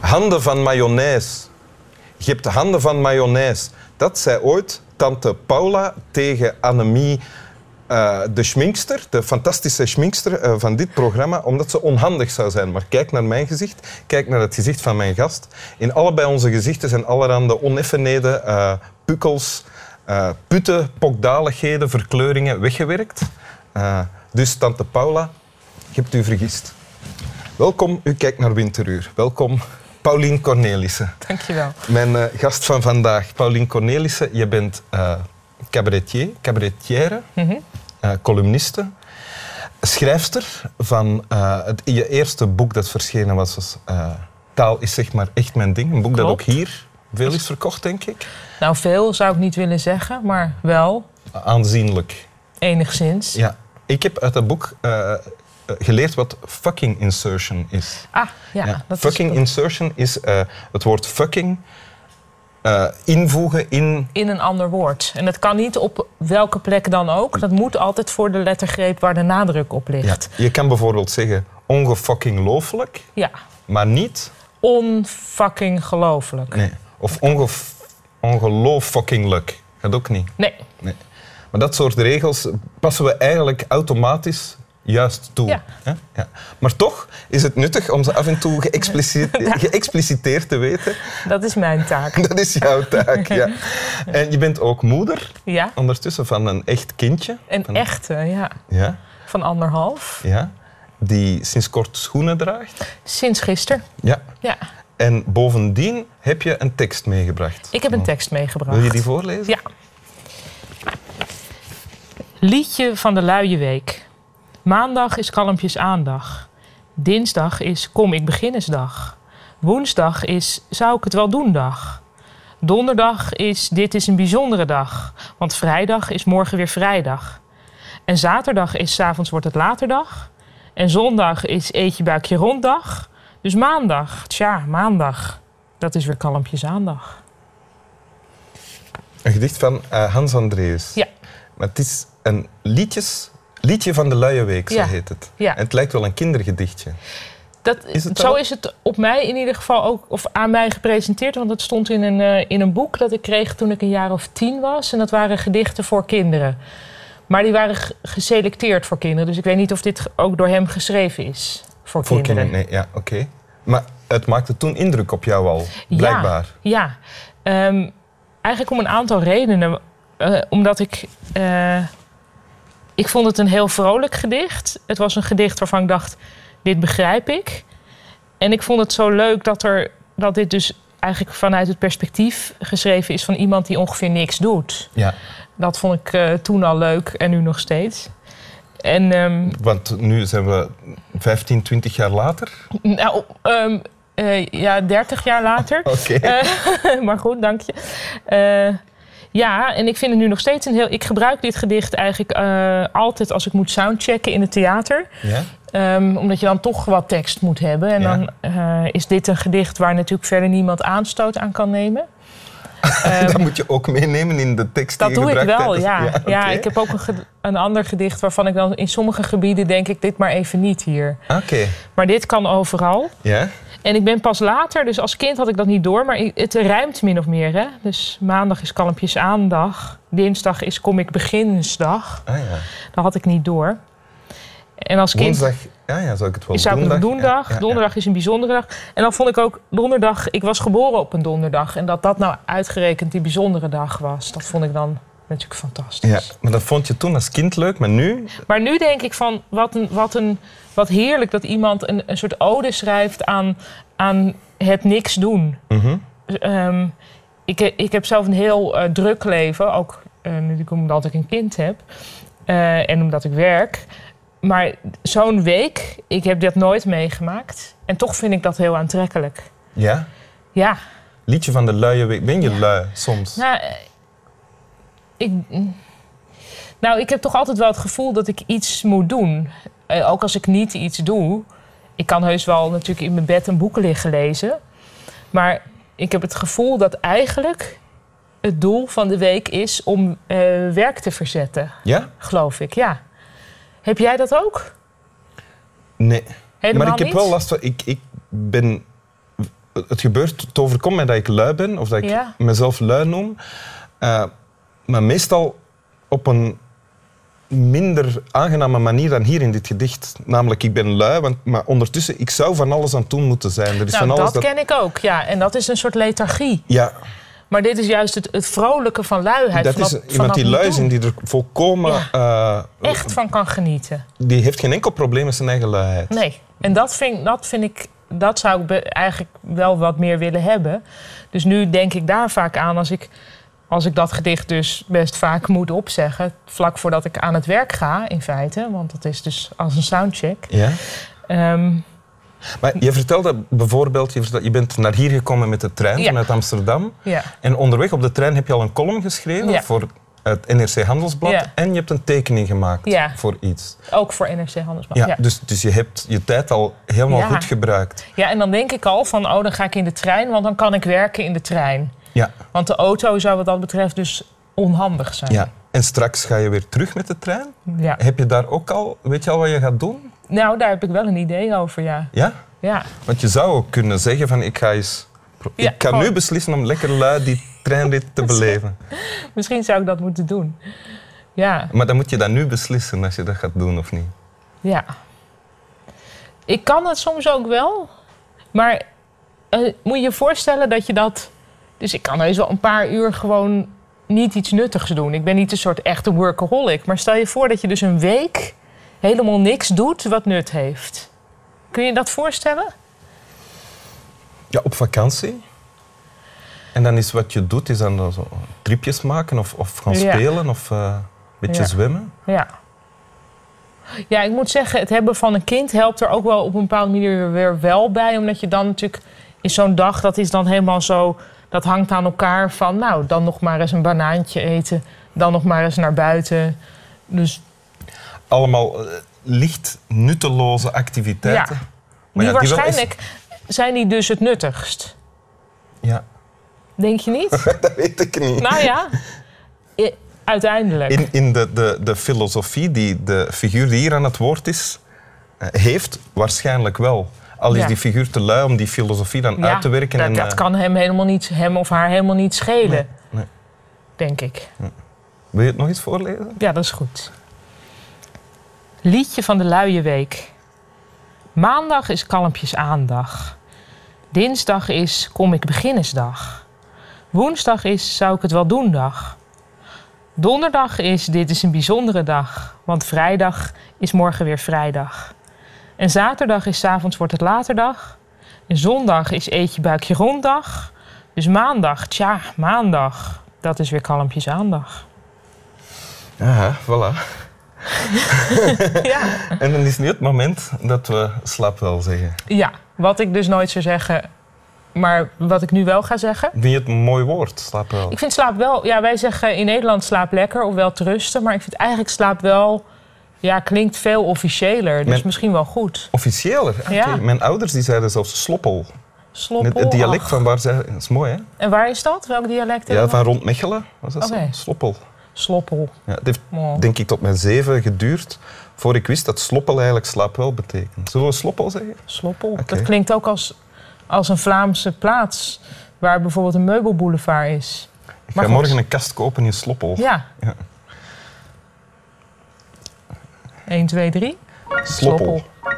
Handen van mayonaise. Je hebt handen van mayonaise. Dat zei ooit tante Paula tegen Annemie, eh, de schminkster, de fantastische schminkster eh, van dit programma, omdat ze onhandig zou zijn. Maar kijk naar mijn gezicht, kijk naar het gezicht van mijn gast. In allebei onze gezichten zijn allerhande oneffenheden, eh, pukkels, eh, putten, pokdaligheden, verkleuringen weggewerkt. Eh, dus tante Paula, je hebt u vergist. Welkom, u kijkt naar Winteruur. Welkom, Paulien Cornelissen. Dankjewel. Mijn eh, gast van vandaag, Paulien Cornelissen. Je bent eh, cabaretier, cabaretière, eh, columniste, schrijfster van eh, het, je eerste boek dat verschenen was. was eh, Taal is zeg maar echt mijn ding. Een boek dat ook Klopt. hier veel is verkocht, denk ik. Nou, veel zou ik niet willen zeggen, maar wel Aanzienlijk. enigszins. Ja. Ik heb uit dat boek eh, eh, geleerd wat fucking insertion is. Ah, ja. Ja. Dat fucking is insertion is eh, het woord fucking eh, invoegen in. in een ander woord. En dat kan niet op welke plek dan ook. Dat moet altijd voor de lettergreep waar de nadruk op Ja. ligt. Je kan bijvoorbeeld zeggen ongefucking looflijk, Ja. maar niet. Onfucking gelooflijk. Nee. Of onge, ongelooffuckinglijk. Gaat ook niet. Nee. Nee. Maar dat soort regels passen we eigenlijk automatisch juist toe. Ja. Hè? Ja. Maar toch is het nuttig om ze af en toe geëxplici- geëxpliciteerd te weten. dat is mijn taak. Dat is jouw taak. Ja. En je bent ook moeder Ja. ondertussen van een echt kindje. Een Van- echte, ja. Ja, Van anderhalf. ja. Die sinds kort schoenen draagt. Sinds gisteren. Ja. Ja. En bovendien heb je een tekst meegebracht. Ik heb een tekst meegebracht. Oh. Wil je die voorlezen? Ja. Liedje van de luie week. Maandag is kalmpjes aandag. Dinsdag is kom ik beginnersdag. Woensdag is zou ik het wel doen dag. Donderdag is dit is een bijzondere dag, want vrijdag is morgen weer vrijdag. En zaterdag is 's avonds wordt het laterdag. En zondag is eet je buikje ronddag. Dus maandag, tja, maandag. Dat is weer kalmpjes aandag. Een gedicht van eh, Hans Andreus. Ja. Maar het is een liedjes, liedje van de luie week, zo Ja. heet het. Ja. En het lijkt wel een kindergedichtje. Dat, Is het zo wel? is het op mij in ieder geval ook, of aan mij gepresenteerd. Want het stond in een, eh, in een boek dat ik kreeg toen ik een jaar of tien was. En dat waren gedichten voor kinderen. Maar die waren ge- geselecteerd voor kinderen. Dus ik weet niet of dit ge- ook door hem geschreven is voor, Voor kinderen. kinderen, nee. Ja, oké. Maar het maakte toen indruk op jou al, blijkbaar. Ja, Ehm, eigenlijk om een aantal redenen. Eh, omdat ik. eh, ik vond het een heel vrolijk gedicht. Het was een gedicht waarvan ik dacht: dit begrijp ik. En ik vond het zo leuk dat, er, dat dit dus eigenlijk vanuit het perspectief geschreven is van iemand die ongeveer niks doet. Ja. Dat vond ik eh, toen al leuk en nu nog steeds. En ehm, Want nu zijn we 15, 20 jaar later. nou, ehm, eh, ja, 30 jaar later. Oké. Eh, maar goed, dank je. Eh, ja, en ik vind het nu nog steeds een heel. Ik gebruik dit gedicht eigenlijk eh, altijd als ik moet soundchecken in het theater. Ja? Ehm, omdat je dan toch wat tekst moet hebben. En Ja. dan eh, is dit een gedicht waar natuurlijk verder niemand aanstoot aan kan nemen. Ehm, dat moet je ook meenemen in de tekst dat die je doe ik gebruikt wel, ja. tijdens- Ja, oké. ik heb ook een, ged- een ander gedicht waarvan ik dan in sommige gebieden denk ik dit maar even niet hier. Oké, Maar dit kan overal. ja. En ik ben pas later, dus als kind had ik dat niet door, maar i- het ruimt min of meer. Hè? Dus maandag is kalmpjes aandag, dinsdag is kom ik beginsdag. Ah, ja. Dat had ik niet door. En als kind Woensdag, ja, ja, zou ik het wel is zou ik een ja, doendag, ja, ja. donderdag is een bijzondere dag. En dan vond ik ook donderdag, ik was geboren op een donderdag. En dat dat nou uitgerekend die bijzondere dag was, dat vond ik dan natuurlijk fantastisch. Ja, maar dat vond je toen als kind leuk, maar nu... Maar nu denk ik van wat, een, wat, een, wat heerlijk dat iemand een, een soort ode schrijft aan, aan het niks doen. Mhm. Ehm, ik, he- ik heb zelf een heel eh, druk leven, ook eh, natuurlijk omdat ik een kind heb eh, en omdat ik werk. Maar zo'n week, ik heb dat nooit meegemaakt. En toch vind ik dat heel aantrekkelijk. Ja? Ja, Liedje van de luie week. Ben je lui soms? nou, eh, ik, mm. nou, ik heb toch altijd wel het gevoel dat ik iets moet doen. Eh, ook als ik niet iets doe. Ik kan heus wel natuurlijk in mijn bed een boek liggen lezen. Maar ik heb het gevoel dat eigenlijk het doel van de week is om eh, werk te verzetten, Ja? geloof ik. Ja. Heb jij dat ook? Nee. Helemaal maar ik heb niet? wel last van... Ik, ik ben het gebeurt, het overkomt mij dat ik lui ben of dat ik Ja. mezelf lui noem. Eh, maar meestal op een minder aangename manier dan hier in dit gedicht. Namelijk, ik ben lui, want, maar ondertussen, ik zou van alles aan het doen moeten zijn. Er is Nou, van alles dat ken ik ook, ja. En dat is een soort lethargie. Ja, Maar dit is juist het, het vrolijke van luiheid. dat van is dat- van iemand dat die niet lui is en doen. die er volkomen... eh, Echt van kan genieten. Die heeft geen enkel probleem met zijn eigen luiheid. Nee. En dat vind, dat vind ik... Dat zou ik be- eigenlijk wel wat meer willen hebben. Dus nu denk ik daar vaak aan als ik... Als ik dat gedicht dus best vaak moet opzeggen, vlak voordat ik aan het werk ga, in feite, want dat is dus als een soundcheck. Ja? Ehm, Maar je vertelde bijvoorbeeld, je, vertelde- je bent naar hier gekomen met de trein Ja. vanuit Amsterdam. ja. En onderweg op de trein heb je al een column geschreven Ja. voor het NRC Handelsblad. Ja. En je hebt een tekening gemaakt Ja. voor iets. Ook voor NRC Handelsblad. Ja, Ja. Dus, dus je hebt je tijd al helemaal Ja. goed gebruikt. ja, en dan denk ik al van, oh, dan ga ik in de trein, want dan kan ik werken in de trein. Ja. Want de auto zou wat dat betreft dus onhandig zijn. ja. En straks ga je weer terug met de trein. Ja. Heb je daar ook al, weet je al wat je gaat doen? Nou, daar heb ik wel een idee over, ja. Ja? Ja, Want je zou ook kunnen zeggen van ik ga eens... pro- Ja, ik kan gewoon. nu beslissen om lekker lui die treinrit te beleven. misschien zou ik dat moeten doen. Ja, Maar dan moet je dat nu beslissen als je dat gaat doen of niet. ja. Ik kan het soms ook wel, maar eh, moet je je voorstellen dat je dat... Dus ik kan heus wel een paar uur gewoon niet iets nuttigs doen. Ik ben niet een soort echte workaholic. Maar stel je voor dat je dus een week helemaal niks doet wat nut heeft. Kun je dat voorstellen? Ja, op vakantie. En dan is wat je doet, is dan zo tripjes maken of, of gaan Ja. spelen of eh, een beetje Ja. zwemmen. Ja. Ja, ik moet zeggen, het hebben van een kind helpt er ook wel op een bepaalde manier weer wel bij. Omdat je dan natuurlijk in zo'n dag, dat is dan helemaal zo, dat hangt aan elkaar van, nou, dan nog maar eens een banaantje eten, dan nog maar eens naar buiten. Dus Allemaal eh, licht nutteloze activiteiten. Ja. Maar die ja, die wel waarschijnlijk zijn die dus het nuttigst. Ja, Denk je niet? dat weet ik niet. nou ja, i- uiteindelijk. In, in de, de, de filosofie die de figuur die hier aan het woord is, eh, heeft waarschijnlijk wel. Al is Ja. die figuur te lui om die filosofie dan Ja, uit te werken. Dat, en, dat eh, kan hem, helemaal niet, hem of haar helemaal niet schelen, nee. denk ik. Wil je het nog eens voorlezen? Ja, dat is goed. Liedje van de luie week. Maandag is kalmpjes aandag. Dinsdag is kom ik beginnersdag. Woensdag is zou ik het wel doen dag. Donderdag is dit is een bijzondere dag, want vrijdag is morgen weer vrijdag. En zaterdag is 's avonds wordt het laterdag. En zondag is eet je buikje ronddag. Dus maandag, tja, maandag, dat is weer kalmpjes aandag. Ja, voilà. Ja. En dan is nu het moment dat we slaap wel zeggen. Ja, wat ik dus nooit zou zeggen, maar wat ik nu wel ga zeggen. Vind je het een mooi woord, slaap wel? Ik vind slaap wel, ja, wij zeggen in Nederland slaap lekker of wel te rusten, maar ik vind eigenlijk slaap wel, ja, klinkt veel officiëler. Dus Met- misschien wel goed. Officiëler. Oké, Ja. Mijn ouders die zeiden zelfs sloppel. Sloppel. het dialect ach. van waar zij... Dat is mooi, hè? En waar is dat? Welk dialect? Ja, helemaal? van rond Mechelen was dat Oké. zo? Sloppel. Sloppel. Ja, het heeft Oh. denk ik tot mijn zeven geduurd voor ik wist dat sloppel eigenlijk slaap wel betekent. Zullen we sloppel zeggen? Sloppel. Oké. Dat klinkt ook als, als een Vlaamse plaats waar bijvoorbeeld een meubelboulevard is. Ik Maar ga goed. morgen een kast kopen in sloppel. Ja. Ja. 1, 2, 3. Sloppel. Sloppel.